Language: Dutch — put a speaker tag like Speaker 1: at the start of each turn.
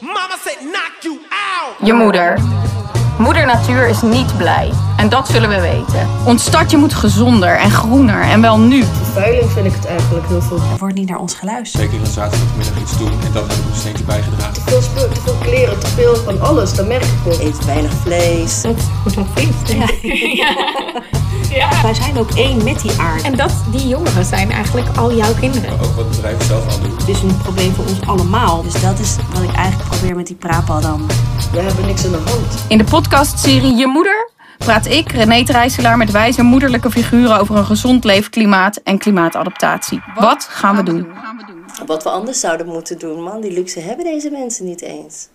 Speaker 1: Mama said knock you out.
Speaker 2: Je moeder. Moeder Natuur is niet blij. En dat zullen we weten. Ons stadje moet gezonder en groener. En wel nu.
Speaker 3: Vervuiling vind ik het eigenlijk heel veel.
Speaker 4: Er wordt niet naar ons geluisterd.
Speaker 5: Zeker in de zaterdagmiddag iets doen en dat heb ik een steentje bijgedragen.
Speaker 3: Te veel spullen, te veel kleren, te veel van alles. Dat merk ik wel.
Speaker 6: eet weinig vlees.
Speaker 4: Wij zijn ook één met die aarde.
Speaker 7: En dat die jongeren zijn eigenlijk al jouw kinderen.
Speaker 5: Ook wat bedrijven zelf al doen.
Speaker 4: het is een probleem voor ons allemaal.
Speaker 6: Dus dat is wat ik eigenlijk probeer met die praatbal dan.
Speaker 3: We hebben niks in de hand.
Speaker 2: In de podcastserie Je Moeder praat ik, René Trijselaar, met wijze moederlijke figuren over een gezond leefklimaat en klimaatadaptatie. Wat gaan we doen?
Speaker 6: Wat we anders zouden moeten doen, man. Die luxe hebben deze mensen niet eens.